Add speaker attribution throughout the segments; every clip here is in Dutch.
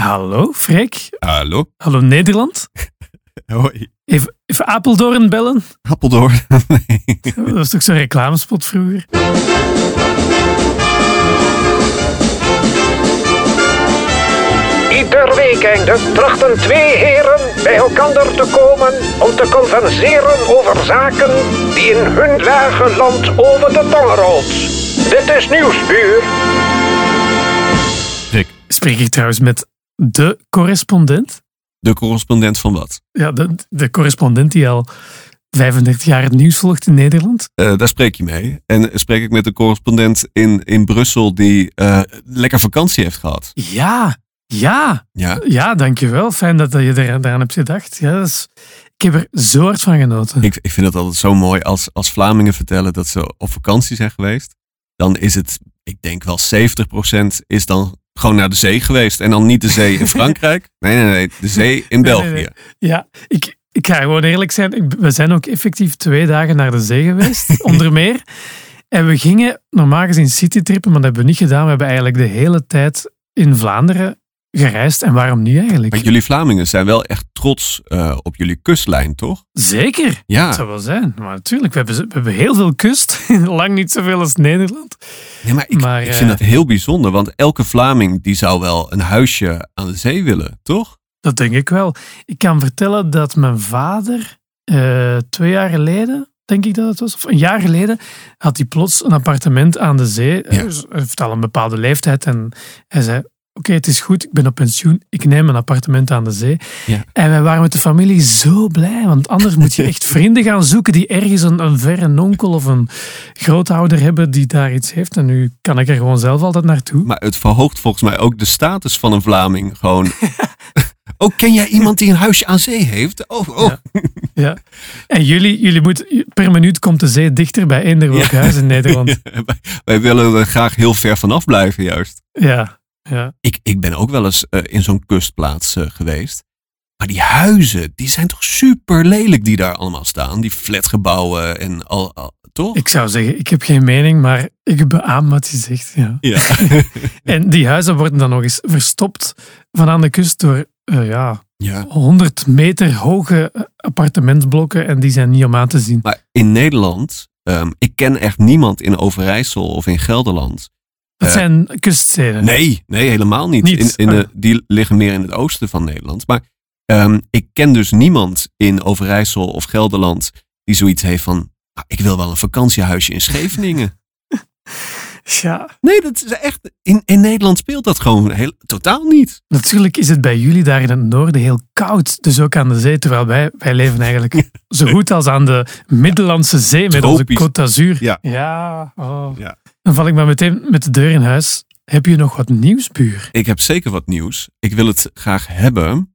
Speaker 1: Hallo, Freek.
Speaker 2: Hallo.
Speaker 1: Hallo, Nederland.
Speaker 2: Hoi.
Speaker 1: Even, even Apeldoorn bellen.
Speaker 2: Appeldoorn. Nee.
Speaker 1: Dat was toch zo'n reclamespot vroeger?
Speaker 3: Ieder weekende trachten twee heren bij elkander te komen om te converseren over zaken die in hun lage land over de tong rolt. Dit is Nieuwsbuur.
Speaker 2: Rick,
Speaker 1: Spreek ik trouwens met de correspondent?
Speaker 2: de correspondent van wat?
Speaker 1: Ja, de, de correspondent die al 35 jaar het nieuws volgt in Nederland.
Speaker 2: Eh, daar spreek je mee. En spreek ik met de correspondent in, in Brussel die eh, lekker vakantie heeft gehad.
Speaker 1: Ja, ja,
Speaker 2: Ja.
Speaker 1: ja, dankjewel. Fijn dat je daar- daaraan hebt gedacht. Ja, dat is- ik heb er zo hard van genoten.
Speaker 2: Ik, ik vind het altijd zo mooi als, als Vlamingen vertellen dat ze op vakantie zijn geweest. Dan is het, ik denk wel 70% is dan gewoon naar de zee geweest. En dan niet de zee in Frankrijk. Nee, nee, nee. De zee in
Speaker 1: nee,
Speaker 2: België.
Speaker 1: nee. Ja, ik, ik ga gewoon eerlijk zijn. Ik- we zijn ook effectief twee dagen naar de zee geweest, onder meer. En we gingen normaal gezien citytrippen, maar dat hebben we niet gedaan. We hebben eigenlijk de hele tijd in Vlaanderen gereisd. En waarom niet eigenlijk?
Speaker 2: Maar jullie Vlamingen zijn wel echt trots eh, op jullie kustlijn, toch?
Speaker 1: Zeker,
Speaker 2: Ja.
Speaker 1: dat zou wel zijn. Maar natuurlijk, we hebben, we hebben heel veel kust. Lang niet zoveel als Nederland.
Speaker 2: Nee, maar ik,
Speaker 1: Maar,
Speaker 2: ik
Speaker 1: eh,
Speaker 2: vind dat heel bijzonder, want elke Vlaming die zou wel een huisje aan de zee willen, toch?
Speaker 1: Dat denk ik wel. Ik kan vertellen dat mijn vader eh, twee jaar geleden, denk ik dat het was, of een jaar geleden, had hij plots een appartement aan de zee.
Speaker 2: Ja.
Speaker 1: Hij was- Hij heeft al een bepaalde leeftijd en hij zei, oké, het is goed, ik ben op pensioen, ik neem een appartement aan de zee.
Speaker 2: Ja.
Speaker 1: En wij waren met de familie zo blij, want anders moet je echt vrienden gaan zoeken die ergens een, een verre onkel of een grootouder hebben die daar iets heeft. En nu kan ik er gewoon zelf altijd naartoe.
Speaker 2: Maar het verhoogt volgens mij ook de status van een Vlaming gewoon. oh, ken jij iemand die een huisje aan zee heeft? Oh, oh.
Speaker 1: Ja. Ja. En jullie, jullie moeten, per minuut komt de zee dichter bij eender welk huis in Nederland.
Speaker 2: Wij, wij willen er graag heel ver vanaf blijven, juist.
Speaker 1: Ja. ja.
Speaker 2: Ik, ik ben ook wel eens eh, in zo'n kustplaats eh, geweest. Maar die huizen, die zijn toch super lelijk die daar allemaal staan? Die flatgebouwen en al, al- toch?
Speaker 1: Ik zou zeggen, ik heb geen mening, maar ik beaam wat je zegt. Ja.
Speaker 2: Ja.
Speaker 1: En die huizen worden dan nog eens verstopt van aan de kust door eh, ja,
Speaker 2: ja.
Speaker 1: 100 meter hoge eh, appartementsblokken en die zijn niet om aan te zien.
Speaker 2: Maar in Nederland, ehm, ik ken echt niemand in Overijssel of in Gelderland.
Speaker 1: Dat
Speaker 2: Eh,
Speaker 1: zijn kuststeden.
Speaker 2: Nee, nee, helemaal niet.
Speaker 1: Niet,
Speaker 2: In, in de,
Speaker 1: oh.
Speaker 2: die liggen meer in het oosten van Nederland. Maar ehm, ik ken dus niemand in Overijssel of Gelderland die zoiets heeft van. "Ah, Ik wil wel een vakantiehuisje in Scheveningen.
Speaker 1: Ja,
Speaker 2: Nee, dat is echt. In, in Nederland speelt dat gewoon heel, totaal niet.
Speaker 1: natuurlijk is het bij jullie daar in het noorden heel koud, dus ook aan de zee, terwijl wij, wij leven eigenlijk zo goed als aan de Middellandse Zee met onze
Speaker 2: Tropisch.
Speaker 1: Côte d'Azur.
Speaker 2: Ja.
Speaker 1: Ja, oh.
Speaker 2: Ja.
Speaker 1: Dan val ik maar meteen met de deur in huis. Heb je nog wat nieuws, buur?
Speaker 2: Ik heb zeker wat nieuws. Ik wil het graag hebben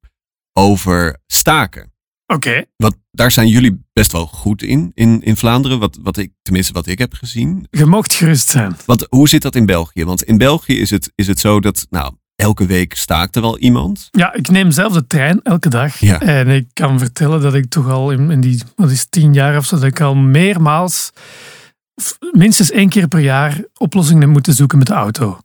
Speaker 2: over staken.
Speaker 1: Oké.
Speaker 2: Want daar zijn jullie best wel goed in, in, in Vlaanderen. Wat, wat ik, tenminste, wat ik heb gezien.
Speaker 1: Je mocht gerust zijn.
Speaker 2: Want hoe zit dat in België? Want in België is het, is het zo dat, nou, elke week staakt er wel iemand.
Speaker 1: Ja, ik neem zelf de trein elke dag.
Speaker 2: Ja.
Speaker 1: En ik kan vertellen dat ik toch al in, in die, wat is het, tien jaar of zo, dat ik al meermaals, f- minstens één keer per jaar, oplossingen heb moeten zoeken met de auto.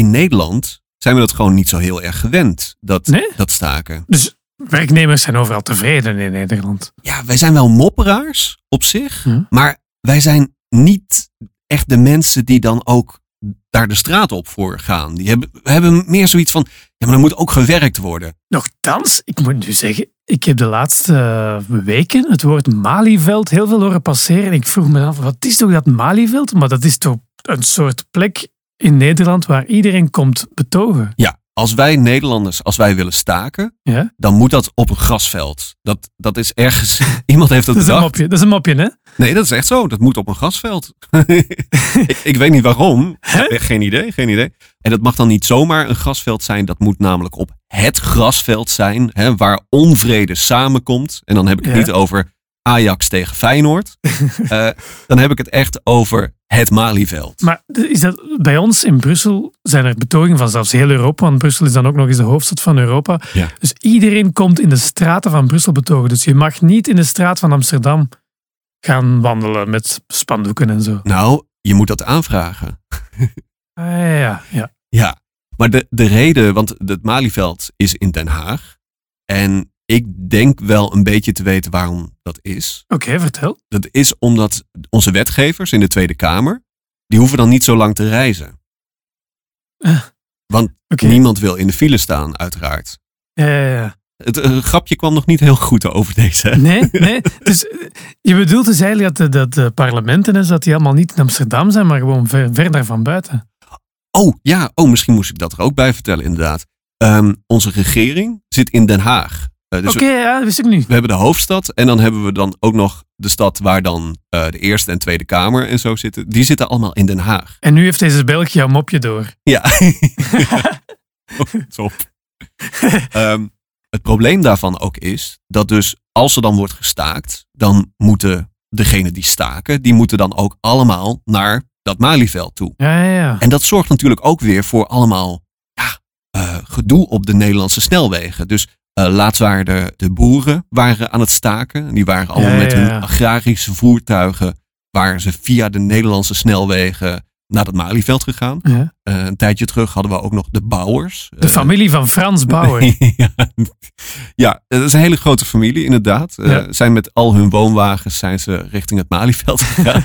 Speaker 2: In Nederland zijn we dat gewoon niet zo heel erg gewend, dat,
Speaker 1: Nee?
Speaker 2: dat staken.
Speaker 1: Dus werknemers zijn overal tevreden in Nederland.
Speaker 2: Ja, wij zijn wel mopperaars op zich.
Speaker 1: Hm.
Speaker 2: Maar wij zijn niet echt de mensen die dan ook daar de straat op voor gaan. Die hebben, we hebben meer zoiets van, ja, maar er moet ook gewerkt worden.
Speaker 1: Nochtans, ik moet nu zeggen, ik heb de laatste eh, weken het woord Malieveld heel veel horen passeren. En ik vroeg me af, wat is toch dat Malieveld? Maar dat is toch een soort plek in Nederland waar iedereen komt betogen.
Speaker 2: Ja, als wij Nederlanders, als wij willen staken,
Speaker 1: Ja?
Speaker 2: dan moet dat op een grasveld. Dat, dat is ergens. Iemand heeft dat
Speaker 1: Dat is een
Speaker 2: bedacht.
Speaker 1: mopje, dat is een mopje, hè?
Speaker 2: Nee, dat is echt zo. Dat moet op een grasveld. ik, ik weet niet waarom. Echt Geen idee, geen idee. En dat mag dan niet zomaar een grasveld zijn. Dat moet namelijk op het grasveld zijn. Hè, waar onvrede samenkomt. En dan heb ik het
Speaker 1: Ja.
Speaker 2: niet over Ajax tegen Feyenoord. Eh, dan heb ik het echt over het Malieveld.
Speaker 1: Maar is dat, bij ons in Brussel zijn er betogingen van zelfs heel Europa, want Brussel is dan ook nog eens de hoofdstad van Europa.
Speaker 2: Ja.
Speaker 1: Dus iedereen komt in de straten van Brussel betogen. Dus je mag niet in de straat van Amsterdam gaan wandelen met spandoeken en zo.
Speaker 2: Nou, je moet dat aanvragen.
Speaker 1: Ah, ja, ja.
Speaker 2: Ja, Maar de, de reden, want het Malieveld is in Den Haag. En ik denk wel een beetje te weten waarom dat is.
Speaker 1: Oké, vertel.
Speaker 2: Dat is omdat onze wetgevers in de Tweede Kamer, die hoeven dan niet zo lang te reizen.
Speaker 1: Ah.
Speaker 2: Want
Speaker 1: Oké.
Speaker 2: niemand wil in de file staan, uiteraard.
Speaker 1: Ja, ja, ja.
Speaker 2: Het eh, grapje kwam nog niet heel goed over deze. hè?
Speaker 1: Nee, nee. Dus eh, je bedoelt dus eigenlijk dat de, dat de parlementen is, dat die allemaal niet in Amsterdam zijn, maar gewoon ver, ver daarvan buiten.
Speaker 2: Oh ja, oh, misschien moest ik dat er ook bij vertellen, inderdaad. Ehm, onze regering zit in Den Haag. Eh, dus
Speaker 1: Oké, ja, dat wist ik niet.
Speaker 2: we hebben de hoofdstad en dan hebben we dan ook nog de stad waar dan eh, de Eerste en Tweede Kamer en zo zitten. Die zitten allemaal in Den Haag.
Speaker 1: En nu heeft deze Belg jouw mopje door.
Speaker 2: Ja. Oh, Top. Ehm, het probleem daarvan ook is dat dus als er dan wordt gestaakt, dan moeten degenen die staken, die moeten dan ook allemaal naar dat Malieveld toe.
Speaker 1: Ja, ja, ja.
Speaker 2: En dat zorgt natuurlijk ook weer voor allemaal ja, eh, gedoe op de Nederlandse snelwegen. Dus eh, laatst waren de, de boeren waren aan het staken. En Die waren allemaal
Speaker 1: Ja,
Speaker 2: met
Speaker 1: ja,
Speaker 2: hun
Speaker 1: ja.
Speaker 2: agrarische voertuigen. Waren ze via de Nederlandse snelwegen naar het Malieveld gegaan.
Speaker 1: Ja.
Speaker 2: Eh, een tijdje terug hadden we ook nog de bouwers. Eh,
Speaker 1: De familie van Frans Bauer.
Speaker 2: ja, ja, dat is een hele grote familie, inderdaad. Eh,
Speaker 1: Ja.
Speaker 2: zijn met al hun woonwagens zijn ze richting het Malieveld gegaan.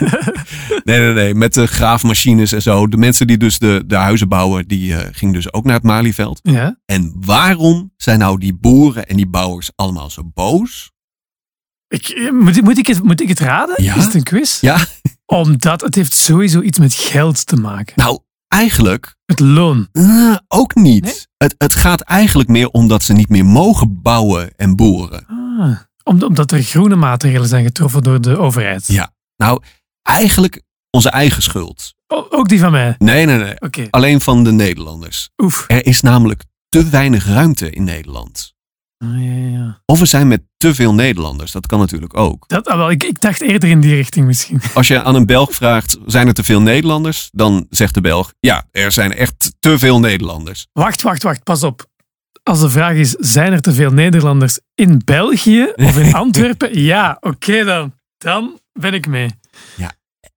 Speaker 2: nee, nee, nee. Met de graafmachines en zo. De mensen die dus de, de huizen bouwen, die eh, gingen dus ook naar het Malieveld.
Speaker 1: Ja.
Speaker 2: En waarom zijn nou die boeren en die bouwers allemaal zo boos?
Speaker 1: Ik, eh, moet, ik- moet, ik het, moet ik het raden?
Speaker 2: Ja.
Speaker 1: Is het een quiz?
Speaker 2: Ja,
Speaker 1: Omdat het heeft sowieso iets met geld te maken.
Speaker 2: nou, eigenlijk
Speaker 1: Met loon.
Speaker 2: eh, ook niet.
Speaker 1: Nee?
Speaker 2: Het, het gaat eigenlijk meer om dat ze niet meer mogen bouwen en boeren.
Speaker 1: Ah. Om- Omdat er groene maatregelen zijn getroffen door de overheid.
Speaker 2: Ja. Nou, eigenlijk onze eigen schuld.
Speaker 1: O- ook die van mij.
Speaker 2: Nee, nee, nee.
Speaker 1: Oké,
Speaker 2: Alleen van de Nederlanders.
Speaker 1: oef.
Speaker 2: Er is namelijk te weinig ruimte in Nederland.
Speaker 1: Ah, ja, ja, ja.
Speaker 2: Of we zijn met te veel Nederlanders, dat kan natuurlijk ook.
Speaker 1: Dat, ah, wel, ik, ik dacht eerder in die richting misschien.
Speaker 2: Als je aan een Belg vraagt, zijn er te veel Nederlanders? Dan zegt de Belg, ja, er zijn echt te veel Nederlanders.
Speaker 1: Wacht, wacht, wacht, pas op. Als de vraag is, zijn er te veel Nederlanders in België of in Antwerpen? ja, oké dan. Dan ben ik mee.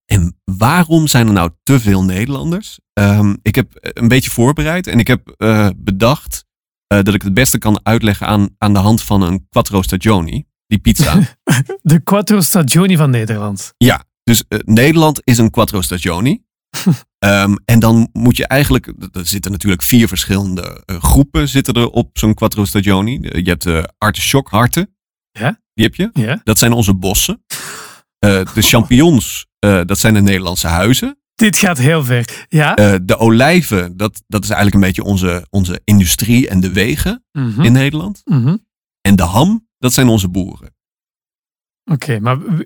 Speaker 2: En waarom zijn er nou te veel Nederlanders? Ehm, ik heb eh, een beetje voorbereid en ik heb eh, bedacht eh, dat ik het beste kan uitleggen aan, aan de hand van een quattro stagioni, die pizza.
Speaker 1: De Quattro Stagioni van Nederland.
Speaker 2: Dus eh, Nederland is een quattro stagioni. Ehm, en dan moet je eigenlijk, d- er zitten natuurlijk vier verschillende eh, groepen zitten er op zo'n quattro stagioni. Eh, Je hebt de artisjokharten,
Speaker 1: Ja.
Speaker 2: die heb je.
Speaker 1: Ja?
Speaker 2: Dat zijn onze bossen. Eh, de champignons, eh, dat zijn de Nederlandse huizen.
Speaker 1: Dit gaat heel ver. Ja?
Speaker 2: Eh, de olijven, dat, dat is eigenlijk een beetje onze, onze industrie en de wegen
Speaker 1: Mhm,
Speaker 2: Eh, in Nederland.
Speaker 1: mhm.
Speaker 2: En de ham, dat zijn onze boeren.
Speaker 1: Oké, maar w-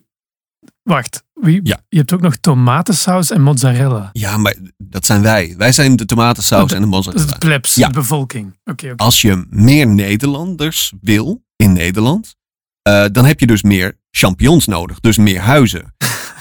Speaker 1: wacht. Wie,
Speaker 2: Ja.
Speaker 1: Je hebt ook nog tomatensaus en mozzarella.
Speaker 2: Ja, maar dat zijn wij. Wij zijn de tomatensaus en de
Speaker 1: Dat is
Speaker 2: mozzarella.
Speaker 1: het plebs,
Speaker 2: Ja.
Speaker 1: de bevolking. Oké, oké.
Speaker 2: als je meer Nederlanders wil in Nederland, eh, dan heb je dus meer champions nodig, dus meer huizen.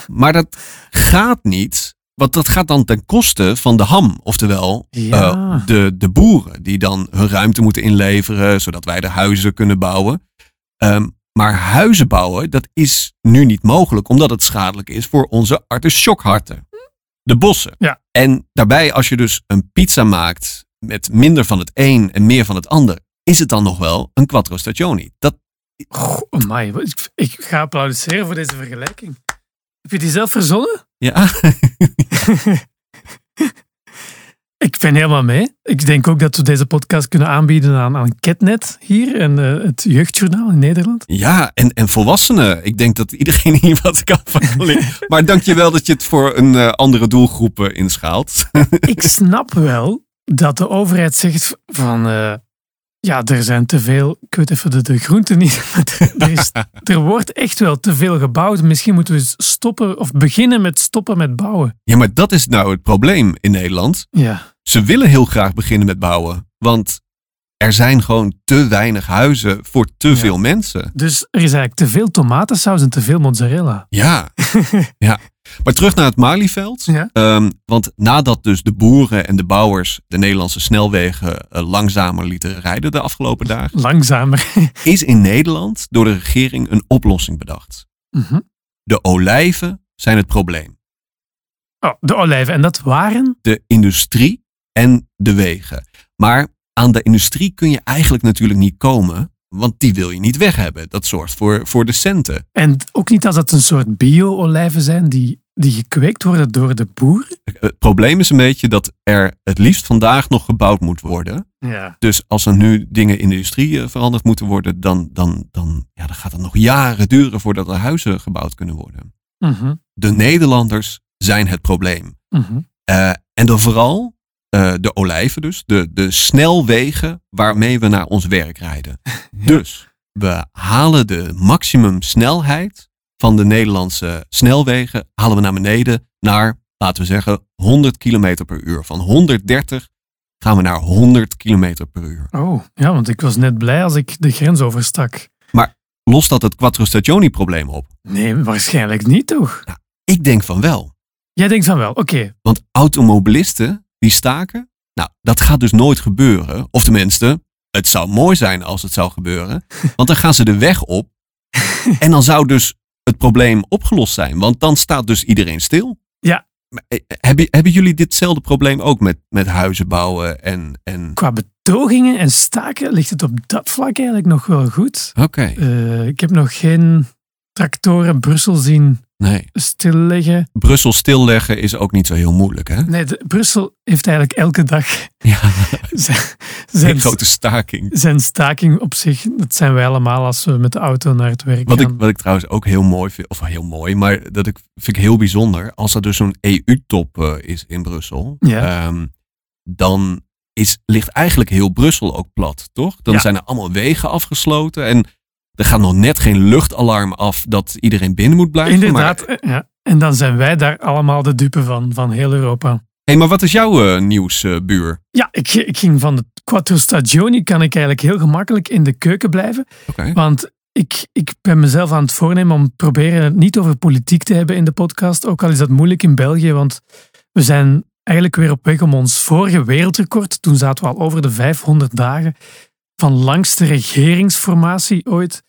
Speaker 2: Maar dat gaat niet, want dat gaat dan ten koste van de ham, oftewel eh,
Speaker 1: Ja.
Speaker 2: de, de boeren, die dan hun ruimte moeten inleveren, zodat wij de huizen kunnen bouwen. Ehm, maar huizen bouwen, dat is nu niet mogelijk, omdat het schadelijk is voor onze artisjokharten. De bossen.
Speaker 1: Ja.
Speaker 2: En daarbij, als je dus een pizza maakt met minder van het een en meer van het ander, is het dan nog wel een quattro stagioni. Dat,
Speaker 1: Oh my, ik, ik ga applaudisseren voor deze vergelijking. Heb je die zelf verzonnen?
Speaker 2: ja,
Speaker 1: Ik ben helemaal mee. Ik denk ook dat we deze podcast kunnen aanbieden aan, aan Ketnet hier en eh, het Jeugdjournaal in Nederland.
Speaker 2: ja en, en volwassenen. Ik denk dat iedereen hier wat kan van kan leren. Maar dank je wel dat je het voor een eh, andere doelgroep eh, inschaalt.
Speaker 1: Ik snap wel dat de overheid zegt van... eh, ja, er zijn te veel... Ik weet even de, de groenten niet. maar er, is, er wordt echt wel te veel gebouwd. Misschien moeten we eens stoppen of beginnen met stoppen met bouwen.
Speaker 2: Ja, maar dat is nou het probleem in Nederland.
Speaker 1: Ja,
Speaker 2: Ze willen heel graag beginnen met bouwen, want er zijn gewoon te weinig huizen voor te veel mensen.
Speaker 1: dus er is eigenlijk te veel tomatensaus en te veel mozzarella.
Speaker 2: Ja. ja. Maar terug naar het Malieveld.
Speaker 1: Ja.
Speaker 2: Ehm, want nadat dus de boeren en de bouwers de Nederlandse snelwegen eh, langzamer lieten rijden de afgelopen dagen,
Speaker 1: Langzamer.
Speaker 2: is in Nederland door de regering een oplossing bedacht.
Speaker 1: Mhm.
Speaker 2: De olijven zijn het probleem.
Speaker 1: Oh, de olijven. En dat waren?
Speaker 2: De industrie en de wegen. Maar aan de industrie kun je eigenlijk natuurlijk niet komen. Want die wil je niet weg hebben. Dat zorgt voor, voor de centen.
Speaker 1: En ook niet als dat een soort bio-olijven zijn die, die gekweekt worden door de boer.
Speaker 2: Het probleem is een beetje dat er het liefst vandaag nog gebouwd moet worden.
Speaker 1: Ja.
Speaker 2: Dus als er nu dingen in de industrie eh, veranderd moeten worden, dan, dan, dan, ja, dan gaat het nog jaren duren voordat er huizen gebouwd kunnen worden.
Speaker 1: Mhm,
Speaker 2: De Nederlanders zijn het probleem. Eh, en dan vooral eh, de olijven dus, de, de snelwegen waarmee we naar ons werk rijden. Dus we halen de maximumsnelheid van de Nederlandse snelwegen, halen we naar beneden naar, laten we zeggen, 100 km per uur. Van 130 gaan we naar 100 km per uur.
Speaker 1: Oh, ja, want ik was net blij als ik de grens overstak.
Speaker 2: Lost dat het Quattro Stagioni probleem op?
Speaker 1: Nee, waarschijnlijk niet toch?
Speaker 2: Ik denk van wel.
Speaker 1: Jij denkt van wel, oké.
Speaker 2: Want automobilisten die staken, nou, dat gaat dus nooit gebeuren. Of tenminste, het zou mooi zijn als het zou gebeuren. Want dan gaan ze de weg op. En dan zou dus het probleem opgelost zijn. Want dan staat dus iedereen stil.
Speaker 1: Ja.
Speaker 2: Maar, eh, Hebben, hebben jullie ditzelfde probleem ook met, met huizen bouwen en... en...
Speaker 1: Qua betogingen en staken ligt het op dat vlak eigenlijk nog wel goed.
Speaker 2: Oké,
Speaker 1: Eh, ik heb nog geen tractoren Brussel zien
Speaker 2: nee.
Speaker 1: stilleggen.
Speaker 2: Brussel stilleggen is ook niet zo heel moeilijk, hè?
Speaker 1: Nee, de- Brussel heeft eigenlijk elke dag
Speaker 2: Ja,
Speaker 1: zijn,
Speaker 2: een
Speaker 1: zijn,
Speaker 2: grote staking.
Speaker 1: zijn staking op zich. Dat zijn wij allemaal als we met de auto naar het werk
Speaker 2: Wat ik,
Speaker 1: gaan.
Speaker 2: wat ik trouwens ook heel mooi vind, of heel mooi, maar dat ik, vind ik heel bijzonder. Als er dus zo'n EU-top eh, is in Brussel,
Speaker 1: Ja.
Speaker 2: ehm, dan is, ligt eigenlijk heel Brussel ook plat, toch? Dan
Speaker 1: Ja.
Speaker 2: zijn er allemaal wegen afgesloten en er gaat nog net geen luchtalarm af dat iedereen binnen moet blijven.
Speaker 1: Inderdaad,
Speaker 2: Maar,
Speaker 1: eh, ja. En dan zijn wij daar allemaal de dupe van, van heel Europa.
Speaker 2: hey, maar wat is jouw eh, nieuws, eh, buur?
Speaker 1: Ja, ik, ik ging van de Quattro Stagioni, kan ik eigenlijk heel gemakkelijk in de keuken blijven.
Speaker 2: Oké.
Speaker 1: Want ik, ik ben mezelf aan het voornemen om proberen het niet over politiek te hebben in de podcast. Ook al is dat moeilijk in België, want we zijn eigenlijk weer op weg om ons vorige wereldrecord, toen zaten we al over de 500 dagen, van langste regeringsformatie ooit.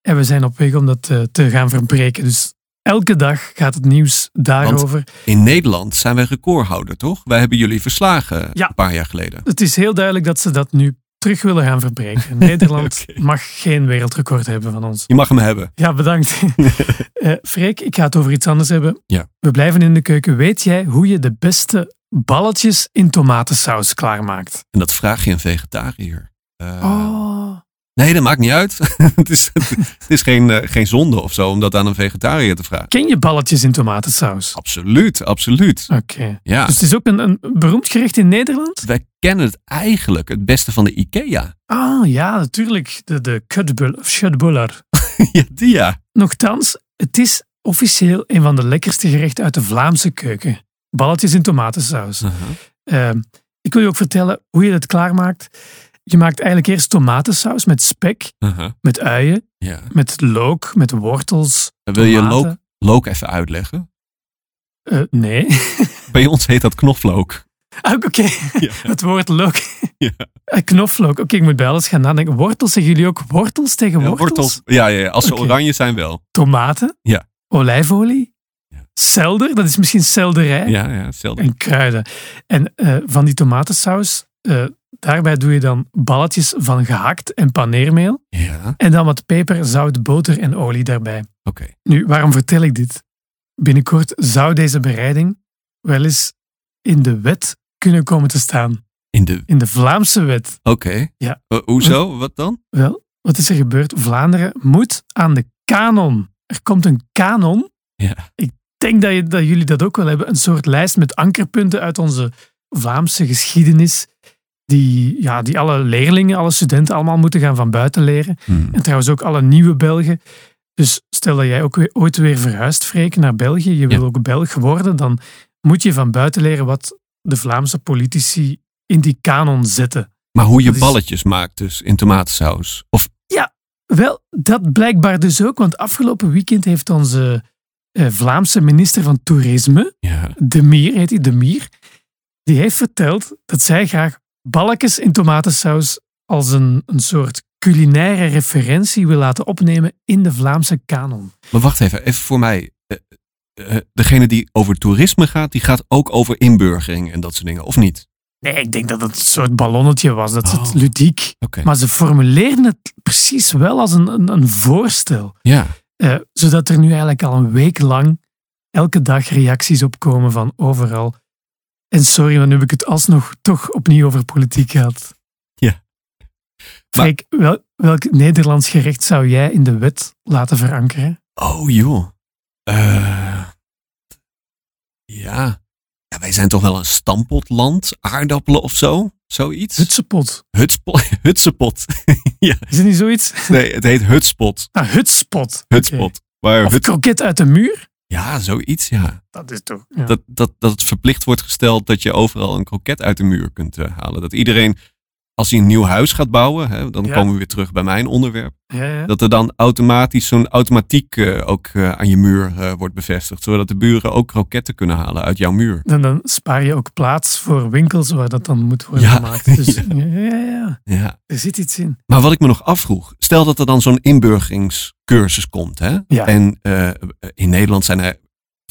Speaker 1: En we zijn op weg om dat eh, te gaan verbreken. Dus elke dag gaat het nieuws daarover.
Speaker 2: In Nederland zijn wij recordhouder, toch? Wij hebben jullie verslagen
Speaker 1: Ja.
Speaker 2: een paar jaar geleden.
Speaker 1: Het is heel duidelijk dat ze dat nu terug willen gaan verbreken. Nederland
Speaker 2: Oké.
Speaker 1: mag geen wereldrecord hebben van ons.
Speaker 2: Je mag hem hebben.
Speaker 1: Ja, bedankt. Eh Freek, ik ga het over iets anders hebben.
Speaker 2: Ja.
Speaker 1: We blijven in de keuken. Weet jij hoe je de beste balletjes in tomatensaus klaarmaakt?
Speaker 2: En dat vraag je een vegetariër. Eh,
Speaker 1: Oh.
Speaker 2: Nee, dat maakt niet uit. het is, het is geen, eh, geen zonde of zo om dat aan een vegetariër te vragen.
Speaker 1: Ken je balletjes in tomatensaus?
Speaker 2: Absoluut, absoluut.
Speaker 1: Oké.
Speaker 2: Ja.
Speaker 1: Dus het is ook een, een beroemd gerecht in Nederland?
Speaker 2: Wij kennen het eigenlijk het beste van de IKEA.
Speaker 1: Ah, ja, natuurlijk. De, de kutbul- of schutbuller.
Speaker 2: ja, die ja.
Speaker 1: Nochtans, het is officieel een van de lekkerste gerechten uit de Vlaamse keuken. Balletjes in tomatensaus.
Speaker 2: Uh-huh,
Speaker 1: Ehm, ik wil je ook vertellen hoe je dat klaarmaakt. Je maakt eigenlijk eerst tomatensaus met spek,
Speaker 2: uh-huh.
Speaker 1: met uien,
Speaker 2: ja.
Speaker 1: met look, met wortels.
Speaker 2: Dan wil je
Speaker 1: tomaten.
Speaker 2: look, look even uitleggen.
Speaker 1: Eh, nee.
Speaker 2: Bij ons heet dat knoflook.
Speaker 1: Ah, Oké,
Speaker 2: Ja.
Speaker 1: het woord look.
Speaker 2: Ja.
Speaker 1: Eh, Knoflook. Oké, ik moet bij alles gaan nadenken. Wortels, zeggen jullie ook wortels tegen
Speaker 2: Ja,
Speaker 1: wortels?
Speaker 2: Ja, ja, ja. als ze
Speaker 1: Oké.
Speaker 2: oranje zijn wel.
Speaker 1: Tomaten.
Speaker 2: Ja.
Speaker 1: Olijfolie.
Speaker 2: Ja.
Speaker 1: Selder, dat is misschien selderij.
Speaker 2: Ja, ja, hetzelfde.
Speaker 1: en kruiden. En eh, van die tomatensaus, eh, daarbij doe je dan balletjes van gehakt en paneermeel.
Speaker 2: Ja, oké.
Speaker 1: En dan wat peper, zout, boter en olie daarbij. Nu, waarom vertel ik dit? Binnenkort zou deze bereiding wel eens in de wet kunnen komen te staan.
Speaker 2: In de...
Speaker 1: In de Vlaamse wet.
Speaker 2: Oké.
Speaker 1: Ja.
Speaker 2: Eh, hoezo? Wat dan?
Speaker 1: Wel, wat is er gebeurd? Vlaanderen moet aan de kanon. Er komt een kanon.
Speaker 2: Ja.
Speaker 1: Ik denk dat, je, dat jullie dat ook wel hebben. Een soort lijst met ankerpunten uit onze Vlaamse geschiedenis. Die, ja, die alle leerlingen, alle studenten allemaal moeten gaan van buiten leren.
Speaker 2: Hmm.
Speaker 1: En trouwens ook alle nieuwe Belgen. Dus stel dat jij ook weer, ooit weer verhuist, Freek, naar België. Je wil ook Belg worden. Dan moet je van buiten leren wat de Vlaamse politici in die kanon zetten.
Speaker 2: Maar hoe je
Speaker 1: Dat is-
Speaker 2: balletjes maakt dus in tomatensaus. Of
Speaker 1: Wel, dat blijkbaar dus ook, want afgelopen weekend heeft onze eh, Vlaamse minister van Toerisme,
Speaker 2: ja.
Speaker 1: De Mier, heet hij De Mier, die heeft verteld dat zij graag balkjes in tomatensaus als een, een soort culinaire referentie wil laten opnemen in de Vlaamse kanon.
Speaker 2: Maar wacht even, even voor mij. Eh, eh, degene die over toerisme gaat, die gaat ook over inburgering en dat soort dingen, of niet?
Speaker 1: Nee, ik denk dat het een soort ballonnetje was. Dat is het
Speaker 2: Oh.
Speaker 1: ludiek.
Speaker 2: Oké.
Speaker 1: Maar ze formuleerden het precies wel als een, een, een voorstel.
Speaker 2: Ja.
Speaker 1: Eh, zodat er nu eigenlijk al een week lang elke dag reacties opkomen van overal. En sorry, maar nu heb ik het alsnog toch opnieuw over politiek gehad.
Speaker 2: Ja. Maar-
Speaker 1: Kijk, wel, welk Nederlands gerecht zou jij in de wet laten verankeren?
Speaker 2: Oh joh. Eh, ja. ja. Wij zijn toch wel een stampotland, aardappelen of zo? Zoiets?
Speaker 1: Hutspot.
Speaker 2: Hutspot. Hutspot.
Speaker 1: Is het niet zoiets?
Speaker 2: Nee, het heet hutspot.
Speaker 1: Ah, hutspot.
Speaker 2: Hutspot.
Speaker 1: Oké.
Speaker 2: Maar
Speaker 1: Of
Speaker 2: hut,
Speaker 1: kroket uit de muur?
Speaker 2: ja, zoiets ja.
Speaker 1: Dat is toch... ja.
Speaker 2: dat, dat, dat het verplicht wordt gesteld dat je overal een kroket uit de muur kunt eh, halen. Dat iedereen, als hij een nieuw huis gaat bouwen, hè, dan
Speaker 1: Ja.
Speaker 2: komen we weer terug bij mijn onderwerp.
Speaker 1: Ja, ja.
Speaker 2: Dat er dan automatisch zo'n automatiek eh, ook eh, aan je muur eh, wordt bevestigd. Zodat de buren ook kroketten kunnen halen uit jouw muur.
Speaker 1: En dan spaar je ook plaats voor winkels waar dat dan moet worden
Speaker 2: Ja.
Speaker 1: gemaakt. Dus,
Speaker 2: Ja.
Speaker 1: ja, ja, ja.
Speaker 2: Ja.
Speaker 1: Er zit iets in.
Speaker 2: Maar wat ik me nog afvroeg, stel dat er dan zo'n inburgeringscursus komt. Hè?
Speaker 1: Ja.
Speaker 2: En eh, in Nederland zijn er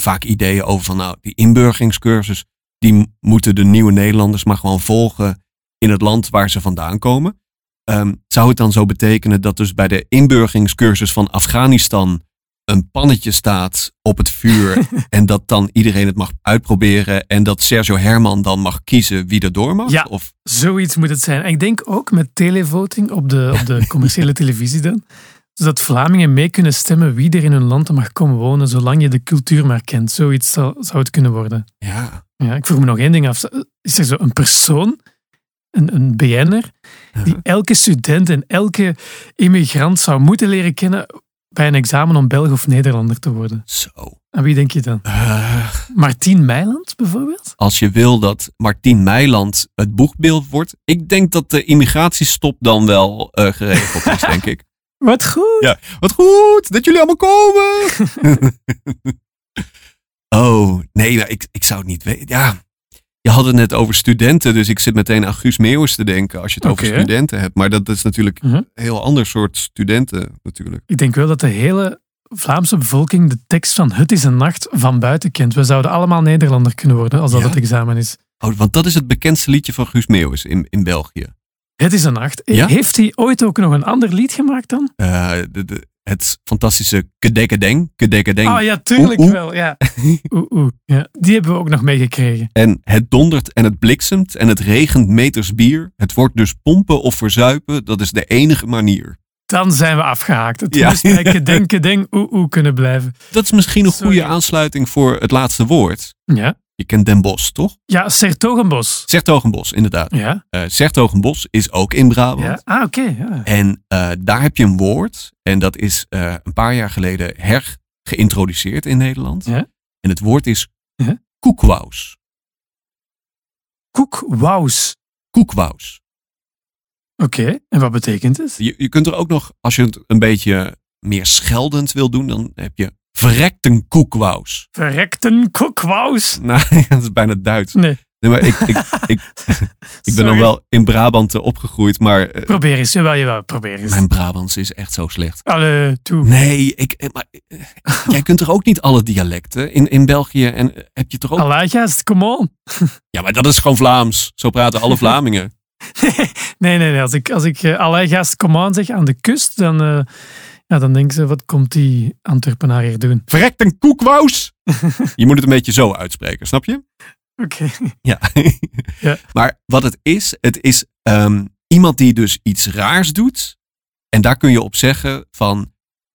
Speaker 2: vaak ideeën over van nou, die inburgeringscursus, die m- moeten de nieuwe Nederlanders maar gewoon volgen in het land waar ze vandaan komen. Ehm, zou het dan zo betekenen dat dus bij de inburgeringscursus van Afghanistan een pannetje staat op het vuur en dat dan iedereen het mag uitproberen en dat Sergio Herman dan mag kiezen wie er door mag?
Speaker 1: Ja.
Speaker 2: Of,
Speaker 1: Zoiets moet het zijn. En ik denk ook met televoting op de, op de commerciële televisie dan. Zodat Vlamingen mee kunnen stemmen wie er in hun land mag komen wonen, zolang je de cultuur maar kent. Zoiets zou, zou het kunnen worden.
Speaker 2: ja.
Speaker 1: Ja, ik vroeg me nog één ding af. Is er zo een persoon, een, een BN'er, die elke student en elke immigrant zou moeten leren kennen bij een examen om Belg of Nederlander te worden?
Speaker 2: Zo.
Speaker 1: Aan wie denk je dan?
Speaker 2: Eh,
Speaker 1: Martien Meiland bijvoorbeeld?
Speaker 2: als je wil dat Martien Meiland het boegbeeld wordt. Ik denk dat de immigratiestop dan wel eh, geregeld is, denk ik.
Speaker 1: Wat goed!
Speaker 2: Ja, wat goed dat jullie allemaal komen. oh, nee, nou, ik, ik zou het niet weten. Ja, je had het net over studenten, dus ik zit meteen aan Guus Meeuwis te denken als je het over
Speaker 1: Oké.
Speaker 2: studenten hebt. Maar dat is natuurlijk
Speaker 1: Mhm.
Speaker 2: een heel ander soort studenten natuurlijk.
Speaker 1: Ik denk wel dat de hele Vlaamse bevolking de tekst van Het is een nacht van buiten kent. We zouden allemaal Nederlander kunnen worden als dat
Speaker 2: Ja?
Speaker 1: het examen is.
Speaker 2: Oh, want dat is het bekendste liedje van Guus Meeuwis in, in België.
Speaker 1: Het is een nacht.
Speaker 2: Ja?
Speaker 1: Heeft hij ooit ook nog een ander lied gemaakt dan?
Speaker 2: Eh, de, de- het fantastische Kedekkedeng, Kedekkedeng.
Speaker 1: Ah ja, tuurlijk
Speaker 2: Oeh, oeh.
Speaker 1: wel. Ja. Oeh, oeh. Ja. Die hebben we ook nog meegekregen.
Speaker 2: En het dondert en het bliksemt en het regent meters bier. Het wordt dus pompen of verzuipen, dat is de enige manier.
Speaker 1: Dan zijn we afgehaakt. Het
Speaker 2: Ja.
Speaker 1: moest bij kedeng, kedeng, oeh, oeh kunnen blijven.
Speaker 2: Dat is misschien een
Speaker 1: Sorry.
Speaker 2: goede aansluiting voor het laatste woord.
Speaker 1: Ja,
Speaker 2: Je kent Den Bosch, toch?
Speaker 1: ja Sertogenbos.
Speaker 2: Sertogenbos, inderdaad.
Speaker 1: Ja,
Speaker 2: Eh Sertogenbos is ook in Brabant.
Speaker 1: ja. Ah, oké. ja.
Speaker 2: En eh, daar heb je een woord. En dat is eh, een paar jaar geleden hergeïntroduceerd in Nederland.
Speaker 1: Ja.
Speaker 2: En het woord is
Speaker 1: Ja.
Speaker 2: koekwaus.
Speaker 1: Koek, wauws.
Speaker 2: Koekwaus.
Speaker 1: Oké, en wat betekent het?
Speaker 2: Je, je kunt er ook nog, als je het een beetje meer scheldend wil doen, dan heb je verrekten koekwaus.
Speaker 1: Verrekten koekwauws.
Speaker 2: Nou, ja, dat is bijna Duits.
Speaker 1: Nee,
Speaker 2: Nee, maar ik, ik, ik, ik ben
Speaker 1: Sorry.
Speaker 2: dan wel in Brabant eh, opgegroeid, maar eh,
Speaker 1: Probeer eens, jawel, jawel, probeer eens.
Speaker 2: mijn Brabants is echt zo slecht.
Speaker 1: Allee, toe.
Speaker 2: Nee, ik, eh, maar, eh, jij kunt toch ook niet alle dialecten? In, in België en, eh, heb je toch ook...
Speaker 1: Allee, gast, come on.
Speaker 2: Ja, maar dat is gewoon Vlaams. Zo praten alle Vlamingen.
Speaker 1: Nee, nee, nee. Als ik, als ik eh, allee, gast, come on zeg aan de kust, dan, eh, ja, dan denken ze, wat komt die Antwerpenaar hier doen?
Speaker 2: Verrekt een koekwaus! Je moet het een beetje zo uitspreken, snap je?
Speaker 1: Oké.
Speaker 2: Ja.
Speaker 1: Ja.
Speaker 2: Maar wat het is, het is ehm, iemand die dus iets raars doet. En daar kun je op zeggen van...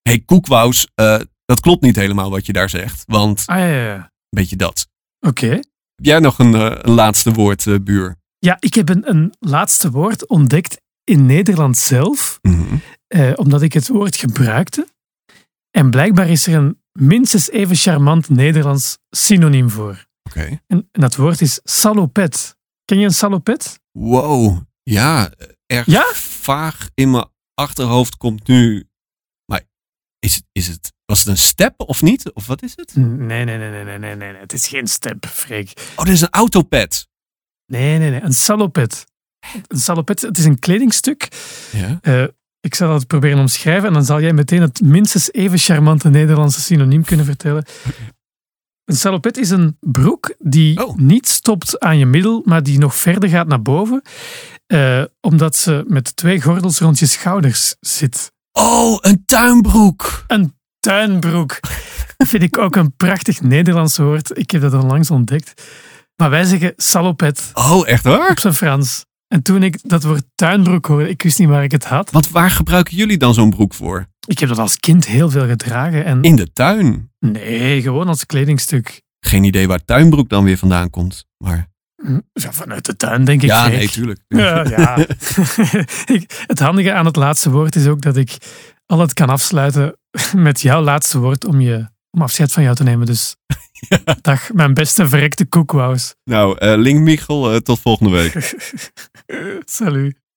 Speaker 2: Hé, hey, koekwaus, eh, dat klopt niet helemaal wat je daar zegt. Want
Speaker 1: Ah, ja, ja, ja.
Speaker 2: een beetje dat.
Speaker 1: Oké.
Speaker 2: Heb jij nog een, eh, een laatste woord, eh, buur?
Speaker 1: Ja, ik heb een, een laatste woord ontdekt in Nederland zelf, eh, omdat ik het woord gebruikte. En blijkbaar is er een minstens even charmant Nederlands synoniem voor.
Speaker 2: Oké.
Speaker 1: En, en dat woord is salopet. Ken je een salopet?
Speaker 2: Wow. Ja, eh, erg
Speaker 1: Ja?
Speaker 2: vaag in mijn achterhoofd komt nu... Maar is het, is het, was het een step of niet? Of wat is het?
Speaker 1: Nee, nee, nee, nee, nee, nee, nee. Het is geen step, Freek.
Speaker 2: Oh, dit is een autopad.
Speaker 1: Nee, nee, nee. Een salopet. Een salopet, het is een kledingstuk.
Speaker 2: Ja.
Speaker 1: Eh, ik zal het proberen omschrijven en dan zal jij meteen het minstens even charmante Nederlandse synoniem kunnen vertellen. Een salopet is een broek die
Speaker 2: Oh.
Speaker 1: niet stopt aan je middel, maar die nog verder gaat naar boven. eh, omdat ze met twee gordels rond je schouders zit.
Speaker 2: Oh, een tuinbroek.
Speaker 1: Een tuinbroek. Vind ik ook een prachtig Nederlands woord. Ik heb dat onlangs ontdekt. Maar wij zeggen salopet
Speaker 2: Oh, echt waar?
Speaker 1: op zijn Frans. En toen ik dat woord tuinbroek hoorde, ik wist niet waar ik het had.
Speaker 2: Want waar gebruiken jullie dan zo'n broek voor?
Speaker 1: Ik heb dat als kind heel veel gedragen. En
Speaker 2: In de tuin.
Speaker 1: nee, gewoon als kledingstuk.
Speaker 2: Geen idee waar tuinbroek dan weer vandaan komt. Maar
Speaker 1: Hm, ja, Vanuit de tuin, denk ik.
Speaker 2: ja,
Speaker 1: zeker.
Speaker 2: nee, tuurlijk.
Speaker 1: Ja, ja. Ik- het handige aan het laatste woord is ook dat ik al het kan afsluiten met jouw laatste woord om, je, om afscheid van jou te nemen. Dus dag, mijn beste verrekte koekwous.
Speaker 2: Nou, eh Link Michel, eh, tot volgende week.
Speaker 1: Salut.